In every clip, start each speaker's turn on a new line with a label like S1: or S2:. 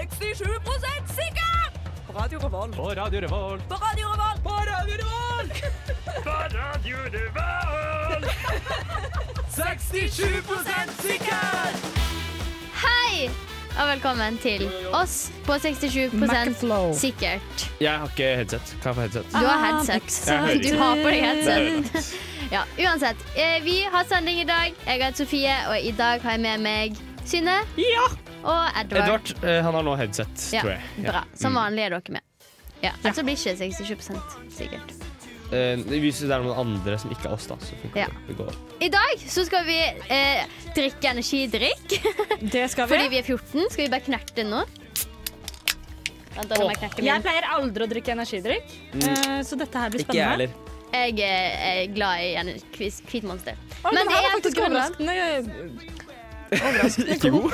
S1: 97 sikker! På Radio Revolt.
S2: På Radio Revolt.
S1: På Radio Revolt. På Radio Revolt!
S2: 67
S1: sikker!
S3: Hei! Og velkommen til oss på 67 sikkert.
S2: Jeg har ikke headset. Kan jeg få headset?
S3: Du har headset.
S2: Ah, headset.
S3: Du har på
S2: Det
S3: deg
S2: er
S3: headset.
S2: ødelagt.
S3: Ja, uansett. eh, Vi har sending i dag. Jeg heter Sofie, og i dag har jeg med meg Synne
S2: Ja!
S3: og Edvard.
S2: Edvard, eh, han har nå headset,
S3: Ja,
S2: tror jeg. Ja. Mm.
S3: bra. Som vanlig er dere med. Ja, Ellers så blir ikke 67 sikkert.
S2: Eh, Hvis det er noen andre som ikke er oss, da, så funker
S3: Ja.
S2: det. det. går.
S3: I dag så skal vi eh, drikke energidrikk.
S1: Det skal vi.
S3: Fordi vi er 14. Skal vi bare knerte den nå? Vent, da kan jeg knerte
S1: Jeg
S3: min.
S1: pleier aldri å drikke energidrikk,
S2: Mm.
S1: eh, så dette her blir spennende.
S3: Jeg eh, er glad i en kvis- hvit monster.
S1: Å, den her
S3: Men det
S1: var
S3: er
S1: faktisk eh,
S3: faktisk grunnlag.
S1: overraskende.
S2: Ikke god.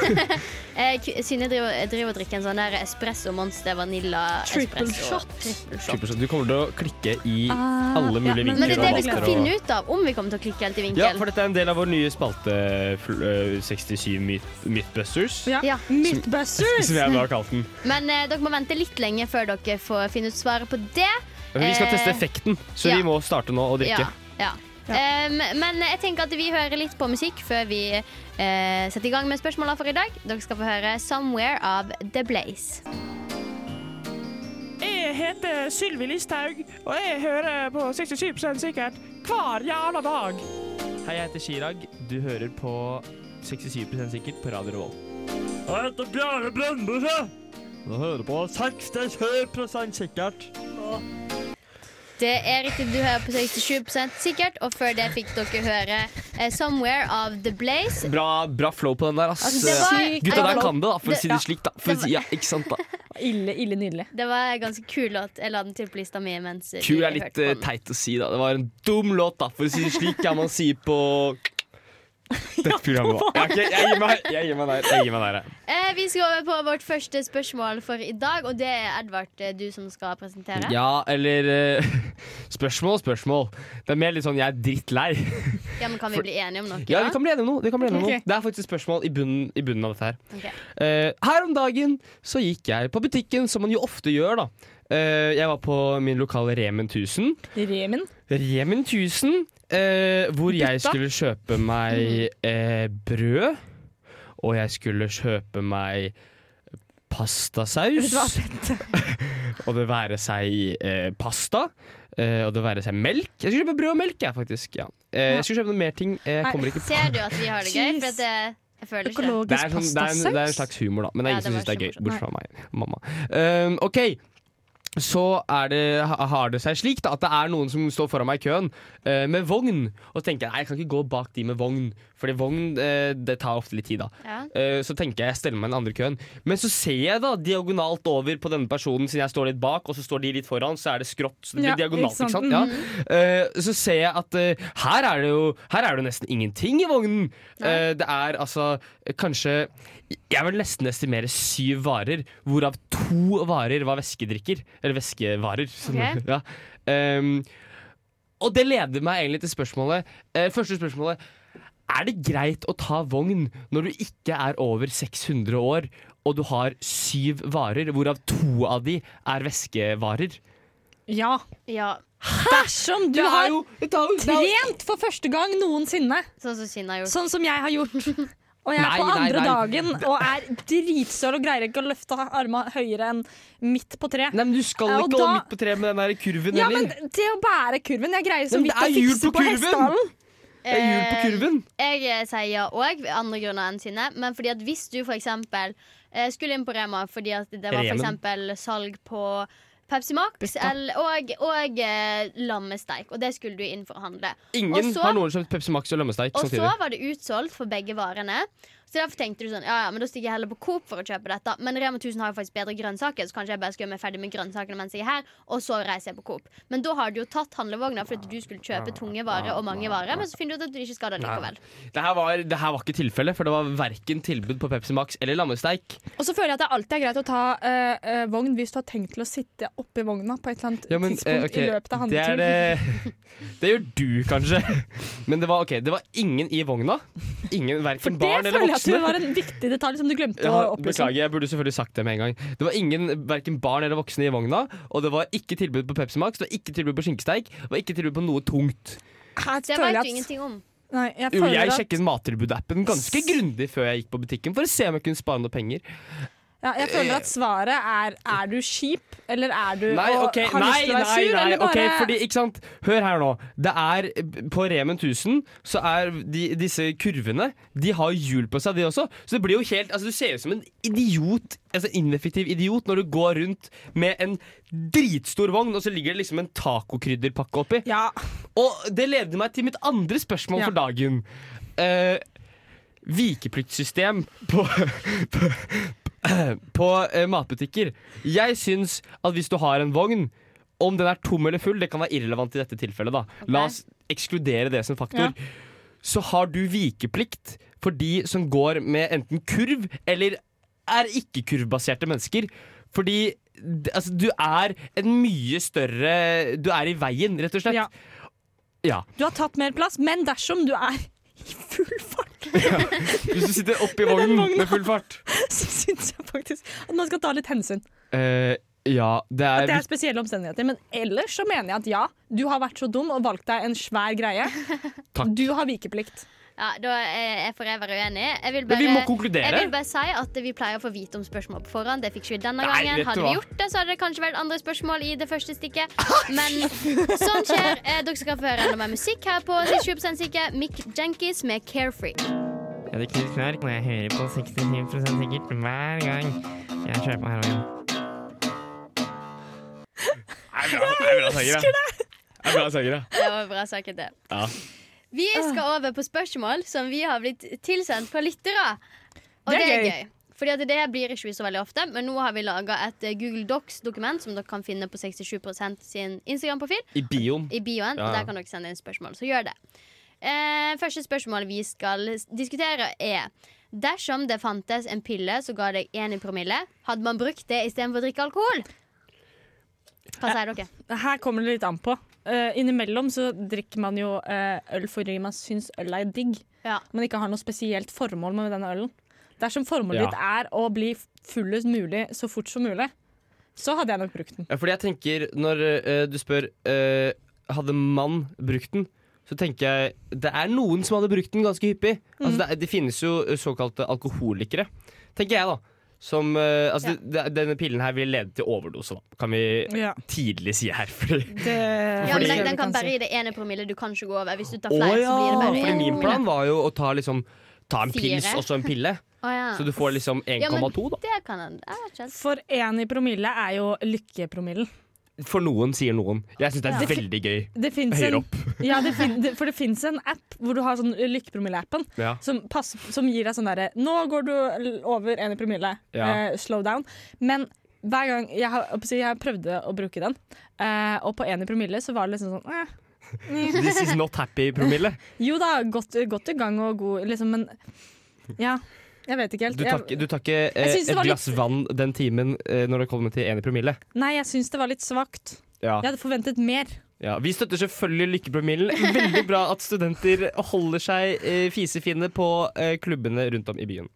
S3: Eh, K- Synne driver, driver og drikker en sånn der espresso monster vanilla
S1: Triple
S3: espresso.
S1: shot.
S3: Triple shot.
S2: Supersøt. Du kommer til å klikke i
S1: Ah, ja,
S2: alle mulige
S1: men-
S2: vinkler.
S3: Men det er det
S2: og
S3: vi skal
S2: master og-
S3: finne ut av, om vi kommer til å klikke helt i vinkel.
S2: Ja, for dette er en del av vår nye spalte fl- eh, 67 myth Mythbusters.
S1: Ja.
S3: Ja.
S1: Mythbusters!
S2: Som jeg da har kalt den.
S3: Men eh, dere må vente litt lenge før dere får finne ut svaret på det.
S2: Men Altså, vi skal
S3: Eh,
S2: teste effekten, så
S3: ja.
S2: vi må starte nå å drikke.
S3: Ja, ja. Em, men jeg tenker at vi hører litt på musikk før vi eh, setter i gang med spørsmåla for i dag. Dere skal få høre 'Somewhere' av The Blaze.
S4: Jeg heter Sylvi Listhaug, og jeg hører på 67 sikkert hver jævla dag.
S2: Hei, jeg heter Chirag. Du hører på 67 sikkert på Radio Revolt.
S5: Jeg heter Bjarne Brøndbøse. Nå hører på 67 sikkert.
S3: Det er riktig, du hører på 67 sikkert, og før det fikk dere høre eh, 'Somewhere' av The Blaze.
S2: Bra, bra flow på den der, ass.
S3: Altså, det var-
S2: Gutta der kan det, da, for å
S3: Det-
S2: si det slik. da for å
S3: Det
S2: si, ja, ikke sant da
S1: Ille, ille nydelig.
S3: Det var en ganske kul låt. Jeg la den til på lista mi mens eh,
S2: Kul
S3: vi
S2: er litt
S3: hørte
S2: eh,
S3: på den.
S2: teit å si, da. Det var en dum låt, da, for å si det slik. Ja, man sier på dette programmet. også. Ja, ok, jeg gir meg, jeg gir meg der. Jeg gir meg der. jeg.
S3: Eh, vi skal over på vårt første spørsmål for i dag, og det er Edvard, eh, du som skal presentere.
S2: Ja, eller eh, Spørsmål, spørsmål. Det er mer litt sånn jeg er drittlei.
S3: Ja, men Kan vi
S2: For-
S3: bli enige om noe?
S2: Ja,
S3: da?
S2: vi kan bli enige om noe. Vi kan bli enige om noe.
S1: Ok.
S2: Det er faktisk et spørsmål i bunnen, i bunnen av dette her.
S3: Ok.
S2: Eh, her om dagen så gikk jeg på butikken, som man jo ofte gjør, da. Eh, jeg var på min lokale Remen 1000.
S1: Remen.
S2: Remen 1000, eh, hvor jeg skulle kjøpe meg eh, brød. Og jeg skulle kjøpe meg
S1: Vet du hva,
S2: pastasaus.
S1: Bente?
S2: Og det være seg eh, pasta. eh, og det være seg melk. Jeg skulle kjøpe brød og melk, jeg, faktisk. Ja. Eh, jeg skulle kjøpe noe mer ting. eh,
S1: Nei.
S2: Jeg kommer ikke på
S3: Ser du at vi har det gøy? For at det, jeg føler ikke det.
S2: det er, sånn, det, er en, det er en slags humor, da. Men det er
S3: Ja,
S2: ingen som
S3: det
S2: syns det
S3: var
S2: er gøy,
S3: ikke
S2: bortsett fra meg og mamma. Um, OK. Så er det, ha- har det seg slik da, at det er noen som står foran meg i køen eh, med vogn. Og så tenker jeg nei, jeg kan ikke gå bak de med vogn, Fordi vogn eh, det tar ofte litt tid. da
S3: Ja.
S2: Eh, Så tenker jeg jeg steller meg i den andre køen. Men så ser jeg da diagonalt over på denne personen, siden jeg står litt bak, og så står de litt foran, så er det skrått. Så det blir
S1: Ja,
S2: diagonalt,
S1: ikke
S2: ikke
S1: sant?
S2: sant? Ja. Eh, Så ser jeg at eh, her er det jo Her er det jo nesten ingenting i vognen. Eh, Det er altså eh, kanskje Jeg vil nesten estimere syv varer, hvorav to varer var væskedrikker. Eller væskevarer. sånn,
S3: Ok.
S2: ja. Ehm, og det leder meg egentlig til spørsmålet. eh, første spørsmålet. Er det greit å ta vogn når du ikke er over 600 år, og du har syv varer, hvorav to av de er væskevarer?
S1: Ja.
S3: ja,
S1: Dersom du har
S2: jo, det tar jo- det er jo-
S1: trent for første gang noensinne,
S3: sånn som Kina har gjort.
S1: sånn som jeg har gjort og jeg er
S2: Nei,
S1: på
S2: nei,
S1: andre
S2: nei.
S1: dagen og er dritsøl og greier ikke å løfte arma høyere enn midt på treet.
S2: Nei, men Du skal
S1: Ja, og
S2: ikke gå
S1: da-
S2: midt på treet med den der kurven
S1: Ja, men
S2: heller.
S1: det å bære kurven Jeg greier så
S2: Men det
S1: vidt å
S2: er hjul
S1: fikse
S2: på
S1: på
S2: kurven!
S1: hestehalen.
S2: Det er hjul på kurven.
S3: Jeg eh, sier ja òg, andre grunner enn sine. Men fordi at hvis du for eksempel eh, skulle inn på Rema fordi at det var for
S2: Remen.
S3: eksempel salg på Pepsi Max eller, og, og eh, lammesteik, og det skulle du inn for å handle.
S2: Ingen
S3: Og så-
S2: har noen kjøpt Pepsi Max og lømmesteik
S3: Og så
S2: samtidig.
S3: var det utsolgt for begge varene. Så derfor tenkte du sånn, ja, ja, men da stikker jeg heller på Coop for å kjøpe dette. Men Rema 1000 har jo faktisk bedre grønnsaker, så kanskje jeg bare skal gjøre meg ferdig med grønnsakene mens jeg er her, og så reiser jeg på Coop. Men da har du jo tatt handlevogna fordi at du skulle kjøpe tunge varer og mange varer, men så finner du ut at du ikke skal det likevel.
S2: Det her var, det her var ikke tilfellet, for det var verken tilbud på Pepsi Max eller lammesteik.
S1: Og så føler jeg at det alltid er greit å ta eh, eh, vogn hvis du har tenkt til å sitte oppi vogna på et eller annet
S2: Ja, men,
S1: tidspunkt
S2: eh, ok,
S1: i løpet av
S2: det, er eh,
S1: handleturen.
S2: det, det gjør du kanskje. Men det var, ok, det var ingen i vogna. Ingen,
S1: For det
S2: Verken barn eller
S1: føler jeg tror det var en viktig detalj som du glemte
S2: Ja,
S1: å opplyse.
S2: beklager, jeg burde selvfølgelig sagt det med en gang. Det var ingen, hverken barn eller voksne i vogna, og det var ikke tilbud på Pepsi Max, det var ikke tilbud på skinkesteik, det var ikke tilbud på noe tungt.
S1: Jeg
S3: Det
S1: føler
S3: vet
S1: at-
S3: du ingenting om.
S1: Nei, jeg
S2: Jo,
S1: føler
S2: jeg
S1: at-
S2: sjekket mattilbudappen ganske grundig før jeg gikk på butikken, for å se om jeg kunne spare noe penger.
S1: Ja, jeg føler at svaret er Er du kjip, eller er du
S2: Eh, Nei,
S1: Øh, og
S2: ok,
S1: har lyst
S2: nei,
S1: til å
S2: nei,
S1: være sur,
S2: nei,
S1: eller bare
S2: ok, fordi, ikke sant? Hør her nå. Det er, på Remen 1000 så er de, disse kurvene De har hjul på seg, de også. Så det blir jo helt, altså Du ser ut som en idiot, altså ineffektiv idiot når du går rundt med en dritstor vogn, og så ligger det liksom en tacokrydderpakke oppi.
S1: Ja,
S2: Og det leder meg til mitt andre spørsmål
S1: Ja.
S2: for dagen. Eh, vikepliktsystem på, på, på eh, matbutikker. Jeg syns at hvis du har en vogn, om den er tom eller full, det kan være irrelevant i dette tilfellet, da. La oss ekskludere det som faktor. Så har du vikeplikt for de som går med enten kurv eller er ikke-kurvbaserte mennesker. Fordi d- altså, du er en mye større Du er i veien, rett og slett.
S1: Ja.
S2: Ja.
S1: du har tatt mer plass, men dersom du er i full fart,
S2: Hvis du sitter oppi vognen
S1: vogna.
S2: med full fart.
S1: så syns jeg faktisk at man skal ta litt hensyn.
S2: Eh, ja, det er,
S1: At det er spesielle omstendigheter. Men ellers så mener jeg at ja, du har vært så dum og valgt deg en svær greie.
S2: Takk.
S1: Du har vikeplikt.
S3: Ja, da er jeg for evig uenig. Jeg vil
S2: Men
S3: bare,
S2: vi må
S3: jeg vil
S2: konkludere.
S3: bare si at vi pleier å få vite om spørsmål på forhånd. Det fikk ikke vi
S2: Nei,
S3: denne gangen.
S2: vet du
S3: Hadde
S2: hva? Ah,
S3: vi gjort det, så hadde det kanskje vært andre spørsmål i det første stikket. Men sånn skjer. Eh, Dere skal få høre enda mer musikk her på 67 sikker. Mick Jenkins med Carefree.
S6: Jeg hadde knust knark, og jeg hører på 67 sikkert hver gang jeg kjører på heroin.
S3: Det var bra sagt, det. Vi skal over på spørsmål som vi har blitt tilsendt fra lyttere. Og det er, gøy. Fordi at det blir ikke vi så veldig ofte, men nå har vi laga et eh, Google Docs-dokument som dere kan finne på 67 sin Instagram-profil.
S2: I bioen.
S3: I bioen,
S2: Ja, ja.
S3: og Der kan dere sende inn spørsmål. Så gjør det. Eh, første spørsmål vi skal s- diskutere, er Dersom det fantes en pille som ga deg én i promille, hadde man brukt det istedenfor å drikke alkohol? Hva sier dere?
S1: Her kommer det litt an på. Eh, innimellom så drikker man jo eh, øl fordi man syns øl er digg.
S3: Ja.
S1: Man ikke har noe spesielt formål med denne ølen. Dersom formålet
S2: Ja.
S1: ditt er å bli fullest mulig så fort som mulig, så hadde jeg nok brukt den.
S2: Ja, fordi jeg tenker, når eh, du spør eh, Hadde mann brukt den, så tenker jeg Det er noen som hadde brukt den ganske hyppig. Altså,
S1: Mm.
S2: det, er- det finnes jo eh, såkalte alkoholikere, tenker jeg, da. Som eh, Altså, det, det, denne pillen her vil lede til overdose, da. Kan vi
S1: Ja,
S2: tidlig si her. Fordi,
S3: Ja,
S2: Fordi-
S3: men den, den kan bare gi det ene promille. Du kan ikke gå over. Hvis du tar
S2: Å
S3: flere,
S2: ja!
S3: så blir det bare
S2: fordi
S3: én
S2: min
S3: promille.
S2: plan var jo å ta liksom Ta en
S3: Fire.
S2: pils og så en pille,
S3: Å, ja.
S2: så du får liksom 1,2,
S3: ja, men
S2: da.
S3: Det kan han. Jeg vet ikke helt.
S1: For én i promille er jo lykkepromillen.
S2: For noen, sier noen. Jeg syns det er
S1: Ja.
S2: veldig gøy.
S1: Det finnes
S2: Høyere
S1: en, ja, det fin, det, for det fins en app hvor du har sånn lykkepromille-appen
S2: Ja.
S1: som, passer- som gir deg sånn derre Nå går du l- over én i promille.
S2: Ja.
S1: Eh, slow down. Men hver gang jeg, har, oppsi- jeg prøvde å bruke den, eh, og på én i promille, så var det liksom sånn eh,
S2: This is not happy-promille.
S1: Jo da, godt, godt i gang og god, liksom, men Ja, jeg vet ikke helt.
S2: Du tar, ikke-
S1: jeg,
S2: du tar ikke eh,
S1: Jeg synes
S2: et
S1: det var
S2: glass vann den timen eh, når det kommer til én i promille.
S1: nei, jeg syns det var litt svakt.
S2: Ja.
S1: Jeg hadde forventet mer.
S2: Ja, vi støtter selvfølgelig Lykkepromillen. Veldig bra at studenter holder seg eh, fisefine på eh, klubbene rundt om i byen.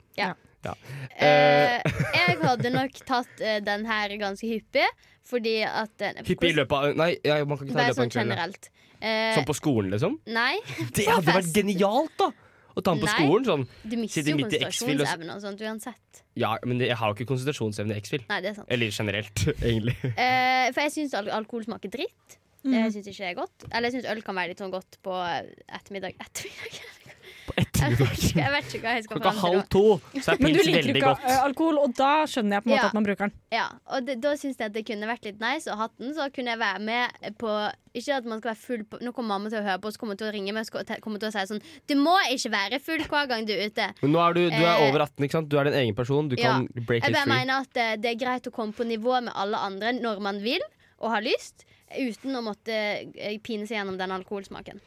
S2: Eh.
S3: Eh, jeg hadde nok tatt eh, den her ganske hyppig, fordi at den-
S2: Hyppig i løpet av Nei, ja, man kan ikke ta i
S3: Bare
S2: løpet av en kveld.
S3: sånn
S2: ja.
S3: generelt. Eh,
S2: Sånn på skolen, liksom?
S3: nei,
S2: Det hadde vært
S3: fest.
S2: genialt, da! Å ta den på
S3: Nei.
S2: skolen sånn.
S3: du mister
S2: Sitter
S3: jo
S2: midt i X-Files.
S3: konsentrasjonsevne og sånt uansett.
S2: Ja, men jeg har jo ikke konsentrasjonsevne i X-Fil.
S3: Nei, det er sant.
S2: Eller generelt, egentlig.
S3: Eh, for jeg syns al alkohol smaker dritt. Det Jeg syns ikke det er godt. Eller jeg syns øl kan være litt sånn godt på eh, ettermiddag. Ettermiddag? Jeg vet ikke, jeg vet ikke hva jeg skal
S2: Klokka
S3: fram til.
S2: halv
S3: nå.
S2: to, så er
S1: Men du liker
S2: pils
S1: jo
S2: veldig
S1: ikke
S2: godt.
S1: eh, alkohol, og da skjønner jeg på en måte
S3: Ja.
S1: at man bruker den.
S3: Ja, og det, da syns jeg at det kunne vært litt nice å ha den. Så kunne jeg være med på Ikke at man skal være full på Nå kommer mamma til å høre på, og så kommer hun til å ringe meg og så kommer hun til å si sånn Du må ikke være full hver gang du er ute.
S2: Men nå er du, du er
S3: Eh.
S2: over 18, ikke sant? Du er din egen person. Du
S3: Ja.
S2: kan break
S3: Jeg
S2: it
S3: bare
S2: free.
S3: mener at eh, det er greit å komme på nivå med alle andre når man vil og har lyst, uten å måtte eh, pine seg gjennom den alkoholsmaken.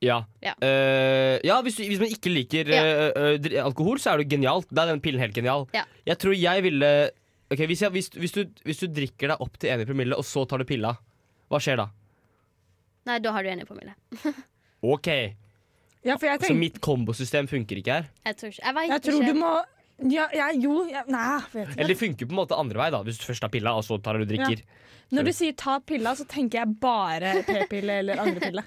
S2: Ja.
S3: Ja.
S2: Eh, ja hvis, du, hvis man ikke liker
S3: Ja.
S2: eh, eh, dri- alkohol, så er det genialt. Da er den pillen helt genial.
S3: Ja.
S2: Jeg tror jeg ville Ok, hvis, jeg, hvis, hvis, du, hvis du drikker deg opp til enig promille, og så tar du pilla, hva skjer da?
S3: Nei, da har du enig promille.
S2: OK.
S1: Ja, for jeg
S2: Så
S1: tenker
S2: mitt kombosystem funker ikke her.
S3: Jeg tror ikke Jeg, vet
S1: Jeg tror
S3: ikke.
S1: du må ja, jeg- Jo, jeg, nei, jeg vet ikke.
S2: Eller det funker på en måte andre vei, da hvis du først tar pilla, og så tar du og drikker.
S1: Når du sier ta pilla, så tenker jeg bare p-pille eller andre pille.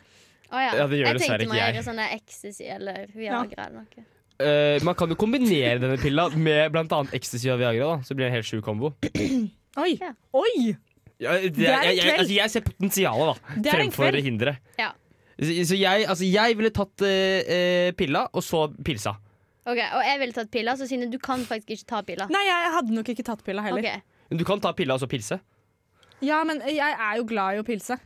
S3: Å, ja.
S2: Ja, det gjør
S3: jeg
S2: dessverre
S3: tenkte
S2: ikke
S3: meg
S2: jeg.
S3: gjøre sånne ecstasy eller Viagra eller noe.
S2: Eh, man kan jo kombinere denne pilla med bl.a. ecstasy og Viagra. da Så blir det en helt sjuk kombo.
S1: Oi!
S3: Ja.
S1: Oi!
S2: Ja,
S1: er en
S2: det, jeg, jeg,
S1: kveld.
S2: altså, jeg ser potensialet, da.
S1: Det er en
S2: Fremfor
S1: kveld.
S2: hinderet.
S3: Ja.
S2: Så, så jeg, altså, jeg ville tatt eh, eh, pilla, og så pilsa.
S3: Ok, Og jeg ville tatt piller, så Synne, du kan faktisk ikke ta piller.
S1: Nei, jeg hadde nok ikke tatt pilla heller.
S3: Ok.
S2: Men du kan ta pilla og så pilse.
S1: Ja, men jeg er jo glad i å pilse.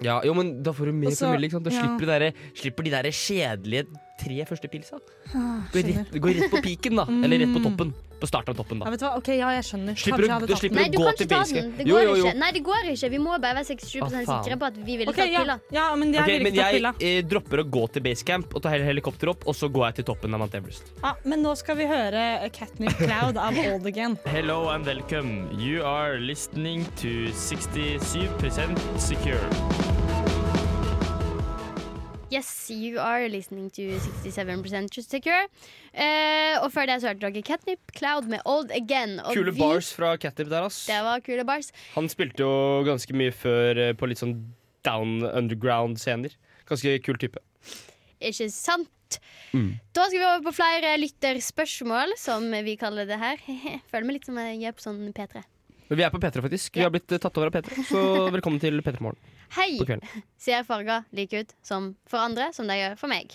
S2: Ja, jo, men Da får du mer
S1: Og så-
S2: promille, ikke sant? Da
S1: ja.
S2: slipper, de derre- slipper de der kjedelige tre første pilsa. Går
S1: Ah, skjønner.
S2: rett, går rett på piken, da. Eller
S1: Mm.
S2: rett på toppen. På starten av toppen,
S1: Ja,
S2: da.
S1: vet du hva? Ok, ja, jeg skjønner.
S2: Slipper
S1: Kanskje jeg
S2: du-
S1: hadde
S2: da
S1: tatt den.
S2: slipper
S3: Nei,
S2: Men
S3: du
S2: gå
S3: kan
S2: til
S3: ikke ta
S2: basic.
S3: den. Det
S2: Jo,
S3: går
S2: jo, jo.
S3: ikke. Nei, det går ikke. Vi må bare være 67
S2: Å, faen.
S3: sikre på at vi ville
S1: Ok,
S3: tatt
S1: ja.
S3: piller.
S1: ja, men jeg
S2: Ok,
S1: ville
S2: men
S1: ikke tatt
S2: jeg
S1: pilla.
S2: eh, dropper å gå til basecamp og ta hele helikopter opp, og så går jeg til toppen av Mount Everest.
S1: Ja, men nå skal vi høre Catnip Cloud av Old Again.
S5: Hello and welcome. You are listening to 67% secure.
S3: Yes, you are listening to 67% Just Secure. Eh, og før det så hørte dere Catnip Cloud med Old Again. Og
S2: Kule
S3: vi-
S2: bars fra Catnip der, ass.
S3: Det var kule bars.
S2: Han spilte jo ganske mye før eh, på litt sånn down underground-scener. Ganske kul type.
S3: Ikke sant?
S2: Mm.
S3: Da skal vi over på flere lytterspørsmål, som vi kaller det her. Føler meg litt som jeg gjør på sånn P3.
S2: Men vi er på P3, faktisk. Vi
S3: Ja.
S2: har blitt eh, tatt over av P3, så velkommen til P3 Morgen
S3: Hei!
S2: på kvelden.
S3: Ser farger like ut som for andre som de gjør for meg?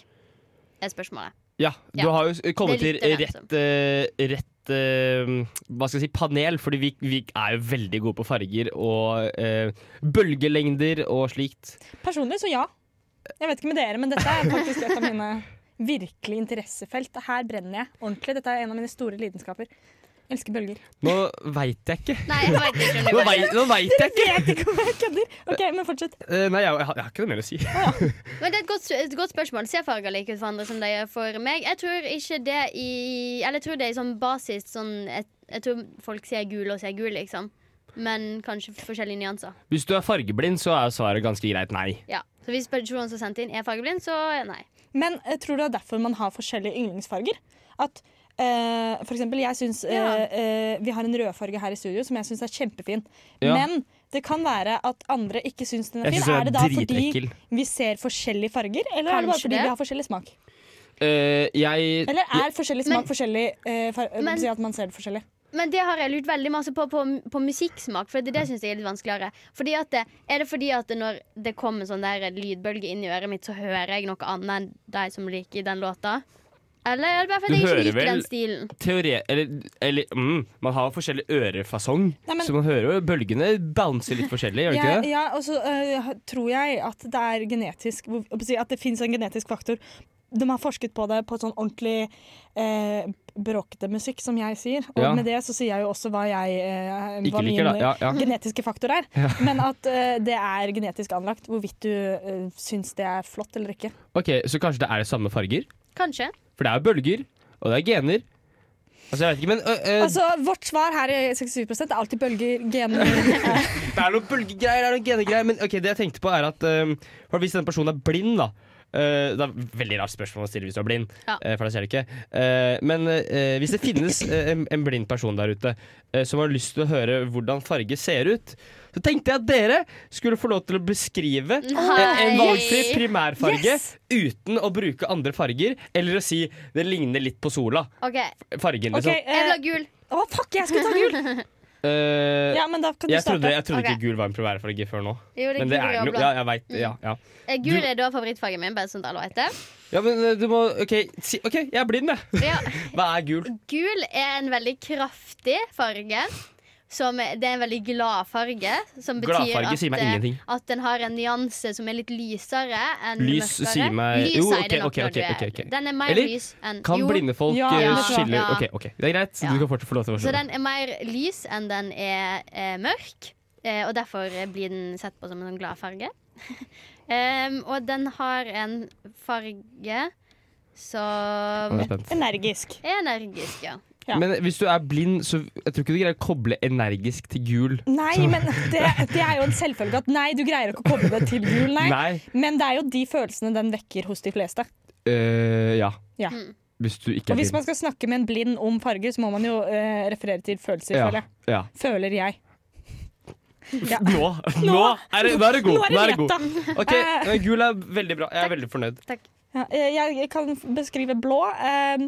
S3: Er spørsmålet.
S2: Ja, du
S3: Ja.
S2: har jo s- eh, kommet
S3: Det
S2: til
S3: er litt
S2: rett, eh, rett eh, Hva skal jeg si panel, fordi vi, vi er jo veldig gode på farger og eh, bølgelengder og slikt.
S1: Personlig så ja. Jeg vet ikke med dere, men dette er faktisk et av mine virkelig interessefelt. Her brenner jeg ordentlig. Dette er en av mine store lidenskaper. Elsker bølger.
S2: Nå veit jeg ikke.
S3: Nei, jeg vet ikke om det
S2: Nå
S3: var det.
S2: veit, nå vet jeg ikke!
S1: Vet ikke om jeg kødder! Ok, men fortsett.
S2: Eh, nei, jeg, jeg, har, jeg har ikke noe mer å si.
S3: Men det er et godt, et godt spørsmål. Ser farger like ut for andre som de gjør for meg? Jeg tror ikke det i Eller jeg tror det er i sånn basis sånn jeg, jeg tror folk ser gul og ser gul, liksom. Men kanskje forskjellige nyanser.
S2: Hvis du er fargeblind, så er svaret ganske greit nei.
S3: Ja. Så hvis personen som sendte inn, er fargeblind, så nei.
S1: Men eh, tror du det er derfor man har forskjellige yndlingsfarger? At eh, for eksempel, jeg syns eh,
S3: Ja.
S1: eh, vi har en rødfarge her i studio som jeg syns er kjempefin.
S2: Ja.
S1: Men det kan være at andre ikke syns den er
S2: Jeg
S1: fin.
S2: syns den
S1: Er
S2: er
S1: det da fordi
S2: dritekkel.
S1: vi ser forskjellige farger, eller er det bare
S3: Kanskje
S1: fordi
S3: det.
S1: vi har forskjellig smak?
S2: Eh, jeg
S1: Eller er forskjellig smak
S3: Men-
S1: forskjellig eh, far, eh,
S3: Men-
S1: si at man ser det forskjellig?
S3: Men det har jeg lurt veldig masse på på, på musikksmak, for det, det syns jeg er litt vanskeligere. Fordi at det, er det fordi at det når det kommer en sånn der lydbølge inn i øret mitt, så hører jeg noe annet enn de som liker den låta? Eller er det bare fordi
S2: Du
S3: jeg ikke
S2: hører
S3: liker
S2: vel-
S3: den stilen?
S2: teore... Eller, eller mm, man har jo forskjellig ørefasong,
S1: Nei, men-
S2: så man hører jo bølgene bounce litt forskjellig, gjør det
S1: Ja,
S2: ikke det?
S1: ja, og så eh, tror jeg at det er genetisk hvor- å si At det fins en genetisk faktor. De har forsket på det på sånn ordentlig eh, bråkete musikk, som jeg sier. Og
S2: Ja.
S1: med det så sier jeg jo også hva jeg eh,
S2: Ikke
S1: hva min
S2: liker, da. Ja, ja.
S1: genetiske faktor er. Men at eh, det er genetisk anlagt hvorvidt du eh, syns det er flott eller ikke.
S2: Ok, Så kanskje det er det samme farger?
S3: Kanskje.
S2: For det er jo bølger, og det er gener. Altså, jeg vet ikke, men ø, ø,
S1: Altså, Vårt svar her i 67 er alltid bølger, gener
S2: Det er noen bølgegreier, det er noen genegreier, men ok, det jeg tenkte på er at ø, for hvis den personen er blind, da ø, Det er et veldig rart spørsmål å stille hvis du er blind,
S3: Ja.
S2: ø, for da ser du ikke. Ø, men ø, hvis det finnes ø, en, en blind person der ute ø, som har lyst til å høre hvordan farge ser ut, så tenkte jeg at dere skulle få lov til å beskrive en, en valgfri primærfarge
S1: Yes!
S2: uten å bruke andre farger, eller å si det ligner litt på sola.
S3: OK.
S2: Fargen,
S1: Ok,
S2: liksom.
S1: eh,
S3: Jeg vil ha gul.
S1: Å, fuck, jeg skulle ta gul!
S2: Eh,
S1: Ja, men da kan du
S2: jeg trodde,
S1: starte.
S2: jeg trodde
S3: Ok.
S2: ikke gul var en primærfarge før nå.
S3: Jo, det er
S2: Men det er
S3: gul
S2: den
S3: og
S2: jo.
S3: blå.
S2: Ja, jeg vet, ja, ja.
S3: Eh, Gul
S2: Du-
S3: er da favorittfargen min, bare sånn at alle vet det.
S2: ja, men eh, du må OK, si, ok, jeg er blind, jeg.
S3: Ja.
S2: Hva er gul?
S3: Gul er en veldig kraftig farge. Som, det er en veldig glad farge. Som betyr
S2: Gladfarge
S3: at,
S2: sier meg
S3: eh,
S2: ingenting.
S3: At den har en nyanse som er litt lysere enn
S2: Lys
S3: mørkere.
S2: sier meg-
S3: Lys
S2: Jo,
S3: er det
S2: ok,
S3: nok
S2: ok,
S3: når du
S2: ok,
S3: er-
S2: ok, ok.
S3: Den er mer
S2: Eller
S3: lys enn
S2: Kan
S3: jo,
S2: blinde folk
S1: Ja,
S2: eh,
S1: ja,
S2: skille
S3: ja.
S2: OK, ok, det er greit.
S3: Ja.
S2: Du kan fortsatt få lov til å
S3: Så
S2: forstå.
S3: den er mer lys enn den er eh, mørk. Eh, og derfor eh, blir den sett på som en sånn glad farge. Em, og den har en farge som
S2: Jeg er spent.
S1: Energisk.
S3: er energisk, ja.
S1: Ja.
S2: Men hvis du er blind, så jeg tror ikke du greier å koble energisk til gul.
S1: Nei, men det, det er jo en selvfølge at nei, du greier ikke å koble det til gul, nei.
S2: Nei.
S1: Men det er jo de følelsene den vekker hos de fleste.
S2: Eh, ja.
S1: Ja.
S3: Mm.
S2: Hvis du ikke
S1: Og
S2: er
S1: hvis
S2: blind.
S1: man skal snakke med en blind om farger, så må man jo eh, referere til følelser,
S2: Ja,
S1: føler jeg.
S2: ja.
S1: Føler jeg. Ja.
S2: Nå, nå, er det, nå er det god. Nå er det god.
S1: lett, da.
S2: Ok, eh, Gul er veldig bra. Jeg er veldig fornøyd.
S1: Ja, eh, jeg kan f- beskrive blå. Eh,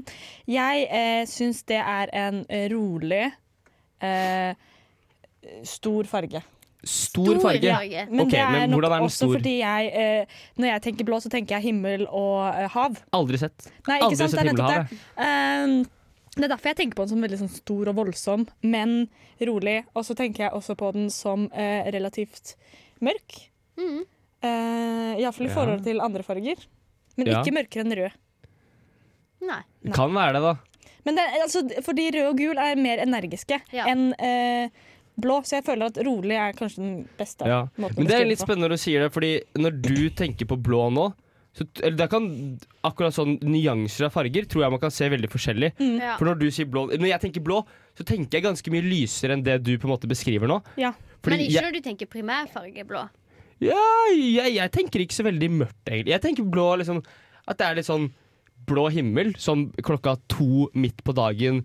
S1: Jeg eh, syns det er en eh, rolig, eh, stor farge.
S2: Stor farge.
S1: Men
S2: Ok,
S1: det er
S2: men
S1: nok
S2: hvordan er den
S1: også
S2: stor?
S1: fordi jeg eh, Når jeg tenker blå, så tenker jeg himmel og eh, hav.
S2: Aldri sett.
S1: Nei,
S2: Aldri
S1: ikke sant? Det
S2: sett
S1: er nettopp
S2: himmelhavet.
S1: det. Ehm, det er derfor jeg tenker på den som veldig sånn stor og voldsom, men rolig. Og så tenker jeg også på den som eh, relativt mørk.
S3: Mm.
S1: Uh, Iallfall i
S2: Ja.
S1: forhold til andre farger. Men
S2: Ja.
S1: ikke mørkere enn rød.
S3: Nei.
S1: Nei.
S2: Kan være det, da.
S1: Men det, er- altså, fordi rød og gul er mer energiske
S3: Ja.
S1: enn eh, blå, så jeg føler at rolig er kanskje den beste
S2: Ja.
S1: måten
S2: Men det er
S1: beskrive
S2: litt
S1: på.
S2: spennende når du sier det, Fordi når du tenker på blå nå så, t- eller der kan Akkurat sånn nyanser av farger tror jeg man kan se veldig forskjellig.
S3: Ja.
S2: For når du sier blå Når jeg tenker blå, så tenker jeg ganske mye lysere enn det du på en måte beskriver nå.
S1: Ja.
S2: Fordi
S3: Men ikke
S2: jeg,
S3: når du tenker primærfarge blå.
S2: jeg, jeg tenker ikke så veldig mørkt, egentlig. Jeg tenker blå liksom At det er litt sånn blå himmel, sånn klokka to midt på dagen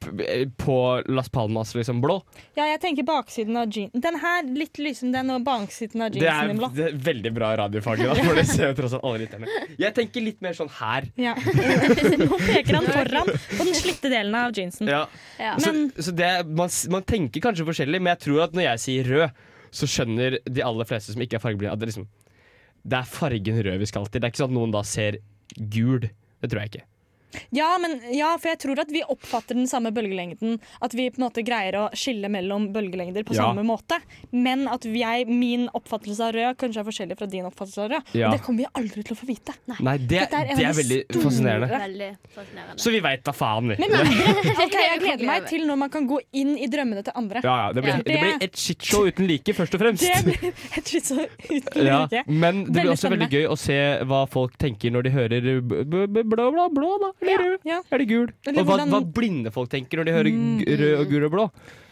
S2: p- eh, på Las Palmas, liksom. Blå.
S1: Ja, jeg tenker baksiden av jean. Den her litt lysere enn den, og baksiden av
S2: Det er,
S1: jeansen i blå.
S2: det er veldig bra radiofaglig, da, for det ser jo tross alt alle lytterne. Jeg tenker litt mer sånn her.
S1: Ja. Nå peker han foran på den slitte delen av jeansen.
S2: Ja.
S3: Ja.
S2: Så,
S1: Men-
S2: Altså, så det, man, s- man tenker kanskje forskjellig, men jeg tror at når jeg sier rød, så skjønner de aller fleste som ikke er fargeblinde, at det, liksom, det er fargen rød vi skal til. Det er ikke sånn at noen da ser gul. Det tror jeg ikke.
S1: Ja, men, ja, for jeg tror at vi oppfatter den samme bølgelengden. At vi på en måte greier å skille mellom bølgelengder på
S2: Ja.
S1: samme måte. Men at jeg, min oppfattelse av rød kanskje er forskjellig fra din oppfattelse av rød.
S2: Ja.
S1: Og det kommer vi aldri til å få vite.
S2: Nei, det,
S1: Dette er en av
S2: det er
S1: de
S2: veldig
S1: store-
S2: fascinerende.
S3: Veldig fascinerende.
S2: Så vi veit da faen, vi.
S1: Men andre,
S3: Jeg
S1: ok, jeg gleder meg
S3: gleder.
S1: til når man kan gå inn i drømmene til andre.
S2: Ja, ja, det blir,
S3: Ja.
S2: det blir et shitshow uten like, først og fremst.
S1: Det blir et litt så uten
S2: Ja,
S1: like.
S2: men det blir
S1: Veldig
S2: også veldig gøy å se hva folk tenker når de hører b- b- b- blå, blå, blå, da. Eller rød.
S1: Ja.
S2: Er det gul?
S1: Eller
S2: og hva,
S1: hvordan- Mm.
S2: hva blinde folk tenker når de hører g- rød og gul og blå?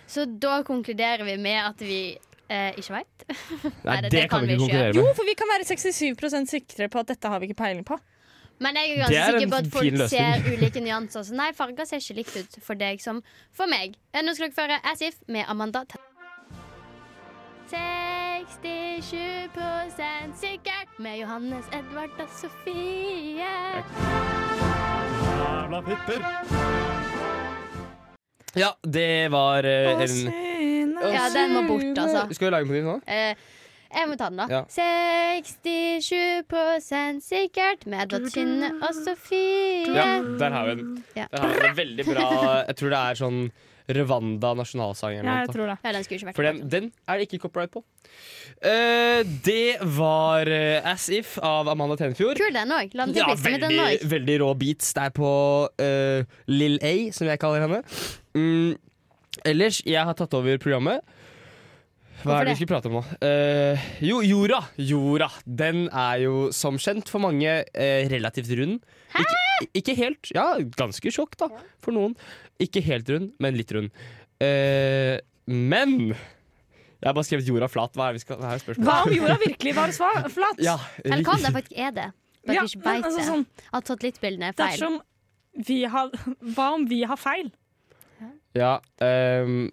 S3: Så, da konkluderer vi med at vi eh, ikke veit.
S2: Nei, det,
S3: det- det
S2: kan vi ikke konkurrere
S1: Jo,
S2: med.
S1: for vi kan være 67 sikre på at dette har vi ikke peiling på.
S3: Men jeg er
S2: Det
S3: ganske
S2: er en
S3: sikker på at
S2: fin
S3: folk
S2: løsning.
S3: ser ulike nyanser. Så nei, farger ser ikke likt ut for deg som for meg. Eh, Nå skal dere føre As If med Amanda T- 67 sikkert med Johannes, Edvard og Sofie.
S5: Jævla pipper.
S2: Ja, det var eh, en
S3: Ja, den var borte, altså.
S2: Skal vi lage på nytt nå?
S3: Eh, jeg må ta den,
S2: Ja.
S3: da. 67 sikkert med Edvard Kynne og Sofie.
S2: Ja, der har vi den.
S3: Ja.
S2: Der har vi den veldig bra Jeg tror det er sånn Rwanda nasjonalsang eller
S1: Ja,
S2: noe.
S1: jeg tror det.
S3: Ja, den skulle ikke vært
S2: For den, den er det ikke copyright på. Eh, det var eh, As If av Amanda Tenfjord.
S3: Kul, den òg.
S2: Ja,
S3: Landtepiste med den
S2: veldig,
S3: òg.
S2: veldig rå beats der på eh, Lill A, som jeg kaller henne. Mm, ellers, jeg har tatt over programmet. Hva
S3: Hvorfor
S2: er det vi
S3: det?
S2: skulle prate om nå? Eh, jo, jorda. Jorda. Den er jo som kjent for mange eh, relativt rund. Ikke, ikke helt. Ja, ganske sjokk, da, for noen. Ikke helt rund, men litt rund. Eh, men Jeg har bare skrevet 'jorda flat'. Hva er, det vi skal, hva er spørsmålet?
S1: Hva om jorda virkelig var sva- flat?
S2: Ja,
S3: Eller hva om den faktisk er det? Bare
S1: Ja,
S3: vi ikke
S1: men
S3: vet
S1: altså
S3: det.
S1: sånn,
S3: At satellittbildene er feil.
S1: dersom vi har Hva om vi har feil?
S2: ja, ehm,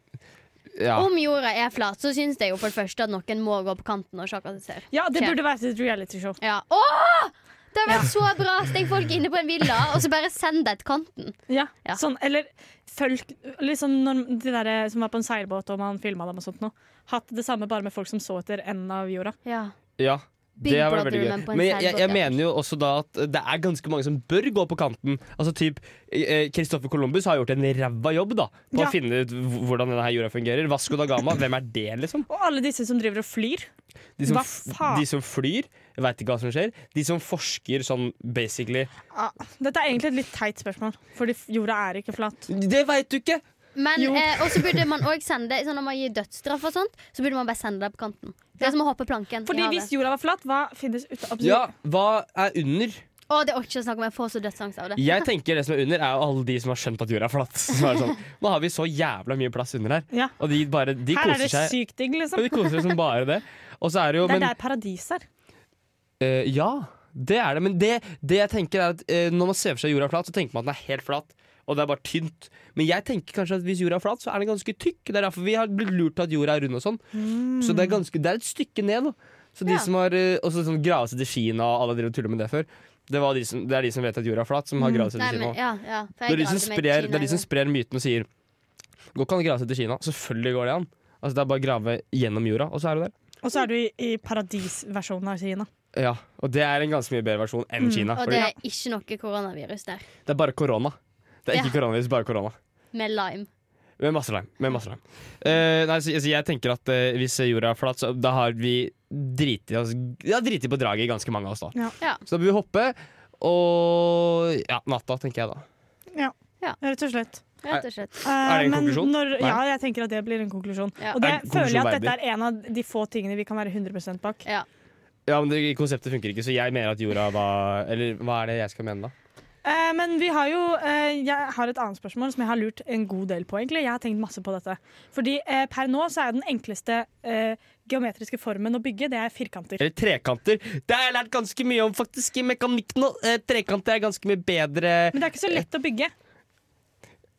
S2: ja.
S3: Om jorda er flat, så syns jeg jo for det første at noen må gå på kanten og se hva de ser.
S1: Ja, det
S3: Skjer.
S1: burde vært et realityshow.
S3: Ja. Åh! Det har vært så bra! Steng folk inne på en villa, og så bare send deg til kanten.
S1: Ja.
S3: Ja.
S1: Sånn, eller folk liksom når De der som var på en seilbåt og man filma dem og sånt noe. Hatt det samme bare med folk som så etter enden av jorda.
S3: Ja.
S2: Ja,
S3: Big
S2: det har vært
S3: Brother,
S2: veldig gøy.
S3: men på en
S2: Men jeg, jeg, jeg
S3: seilbåt, ja.
S2: mener jo også da at det er ganske mange som bør gå på kanten. Altså typ eh, Christopher Columbus har gjort en ræva jobb da på
S1: Ja.
S2: å finne ut h- hvordan denne her jorda fungerer. Vasco da Gama, hvem er det, liksom?
S1: Og alle disse som driver og flyr.
S2: De som,
S1: Hva
S2: f-
S1: faen?
S2: de som flyr, veit ikke hva som skjer. De som forsker sånn basically
S1: Dette er egentlig et litt teit spørsmål, fordi f- jorda er ikke flat.
S2: Det veit du ikke!
S3: Men,
S1: Jo.
S3: eh, og så burde man òg sende sånn Når man gir dødsstraff og sånt, så burde man bare sende deg på kanten. Det er som å hoppe planken.
S1: Fordi
S3: i havet.
S1: hvis jorda var flat, hva finnes ute
S2: Ja, hva er under?
S3: Å, det orker jeg ikke å snakke om. Jeg får så dødsangst av det.
S2: Jeg tenker det som er under, er jo alle de som har skjønt at jorda er flat. Som er sånn, Nå har vi så jævla mye plass under her.
S1: Ja.
S2: Og de bare De
S1: Her er
S2: koser
S1: det
S2: seg.
S1: sykt digg,
S2: Ja,
S1: liksom.
S2: De koser seg som bare det. Og så er det jo
S1: Det er
S2: men,
S1: der paradis er.
S2: Eh, ja. Det er det, men det, det jeg tenker er at eh, når man ser for seg jorda flat, så tenker man at den er helt flat. Og det er bare tynt. Men jeg tenker kanskje at hvis jorda er flat, så er den ganske tykk. Det er derfor vi har blitt lurt til at jorda er rund og sånn. Så det er, ganske, det er et stykke ned. Da. Så de
S3: Mm. Ja.
S2: som har eh, også sånn gravet seg til Kina, og alle driver og tuller med det før, det, var de som, det er de som vet at jorda er flat, som har gravet seg
S3: Mm. Nei,
S2: til Kina.
S3: men, ja, ja, for
S2: Det
S3: jeg
S2: er, de som
S3: gravde meg i
S2: sprer, det
S3: Kina
S2: er
S3: i
S2: de som
S3: går.
S2: sprer myten og sier Går ikke an å grave seg til Kina? Selvfølgelig går det an. Altså Det er bare å grave gjennom jorda, og så er du der.
S1: Og så er du i, i paradisversjonen av Kina.
S2: Ja, Og det er en ganske mye bedre versjon enn
S1: Mm,
S2: Kina.
S3: Og
S2: fordi
S3: det er ikke noe koronavirus der.
S2: det er bare korona. Det er ikke
S3: Ja.
S2: koronavirus, bare korona.
S3: Med lime.
S2: Med masse lime. Med masse lime. Eh, nei, så, så jeg tenker at eh, hvis jorda er flat, så da har vi driti oss Ja, driti på draget, ganske mange av oss, da.
S1: Ja.
S3: Ja.
S2: Så da bør vi hoppe. Og ja, natta, tenker jeg da.
S1: Rett og slett.
S3: Rett og slett.
S1: Eh,
S2: det en
S1: men
S2: konklusjon?
S1: Når,
S2: Nei.
S1: ja, jeg tenker at det blir en konklusjon.
S3: Ja.
S1: Og det
S2: Er det en
S1: føler jeg at
S2: konklusjon
S1: dette er en av de få tingene vi kan være 100 bak.
S3: Ja.
S2: Ja, men det, Konseptet funker ikke, så jeg mener at jorda var Eller hva er det jeg skal mene, da?
S1: Eh, men vi har jo eh, Jeg har et annet spørsmål som jeg har lurt en god del på, egentlig. Jeg har tenkt masse på dette. Fordi eh, per nå så er den enkleste eh, geometriske formen å bygge, det er firkanter.
S2: Eller trekanter. Det har jeg lært ganske mye om faktisk i mekanikk nå. Eh, trekanter er ganske mye bedre
S1: Men det er ikke så lett å bygge.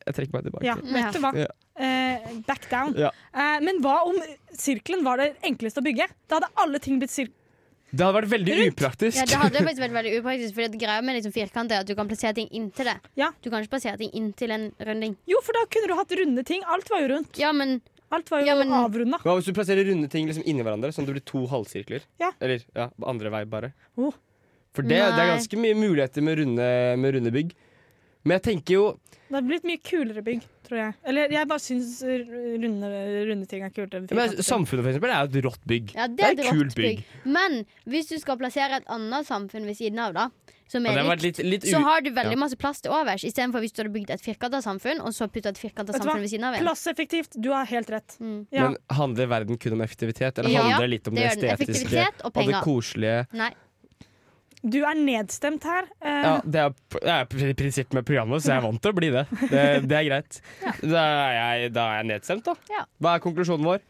S2: Jeg trekker meg tilbake.
S1: Ja, vet du hva?
S2: Ja.
S1: Eh, back down.
S2: Ja.
S1: Eh, men hva om sirkelen var det enkleste å bygge? Da hadde alle ting blitt sirkel...
S2: Det hadde vært veldig upraktisk.
S3: Ja, det hadde faktisk vært veldig upraktisk, Fordi at greia med liksom firkant er at du kan plassere ting inntil det.
S1: Ja.
S3: Du kan ikke plassere ting inntil en runding.
S1: Jo, for da kunne du hatt runde ting. Alt var jo rundt.
S3: Ja, men
S1: Alt var jo
S3: Ja, men-
S1: avrunda.
S2: Hva hvis du plasserer runde ting liksom inni hverandre, sånn at det blir to halvsirkler?
S1: Ja.
S2: Eller ja, andre vei, bare.
S1: Oh.
S2: For det, det er
S3: Nei.
S2: ganske mye muligheter med runde, med runde bygg. Men jeg tenker jo
S1: Det hadde blitt mye kulere bygg, tror jeg. Eller jeg bare syns eh, runde, runde ting er kulere. enn
S2: men
S1: firkanter.
S2: Samfunnet, for eksempel, er jo et rått bygg.
S3: ja, det,
S2: et
S3: er et
S2: kult
S3: rått bygg. Men hvis du skal plassere et annet samfunn ved siden av, da, som
S2: Ja, det
S3: er
S2: har vært
S3: likt,
S2: litt, litt
S3: så
S2: u-
S3: har du
S2: ja.
S3: veldig masse plass til overs, istedenfor hvis du hadde bygd et firkanta samfunn, og så putta et firkanta
S1: Vet du hva?
S3: samfunn ved siden av en.
S1: Plasseffektivt. Du har helt rett.
S3: Mm.
S1: Ja.
S2: Men handler verden kun om effektivitet, eller
S3: Ja,
S2: handler det litt om det,
S3: Det gjør den.
S2: estetiske
S3: Effektivitet og
S2: og det
S3: penger.
S2: koselige?
S3: Nei.
S1: Du er nedstemt her. Eh,
S2: Ja, det er, det er pr- prinsippet med programmet, så jeg er vant til å bli det. Det, det er greit. Da, er jeg, da er jeg nedstemt, da.
S3: Ja.
S2: Hva er konklusjonen vår?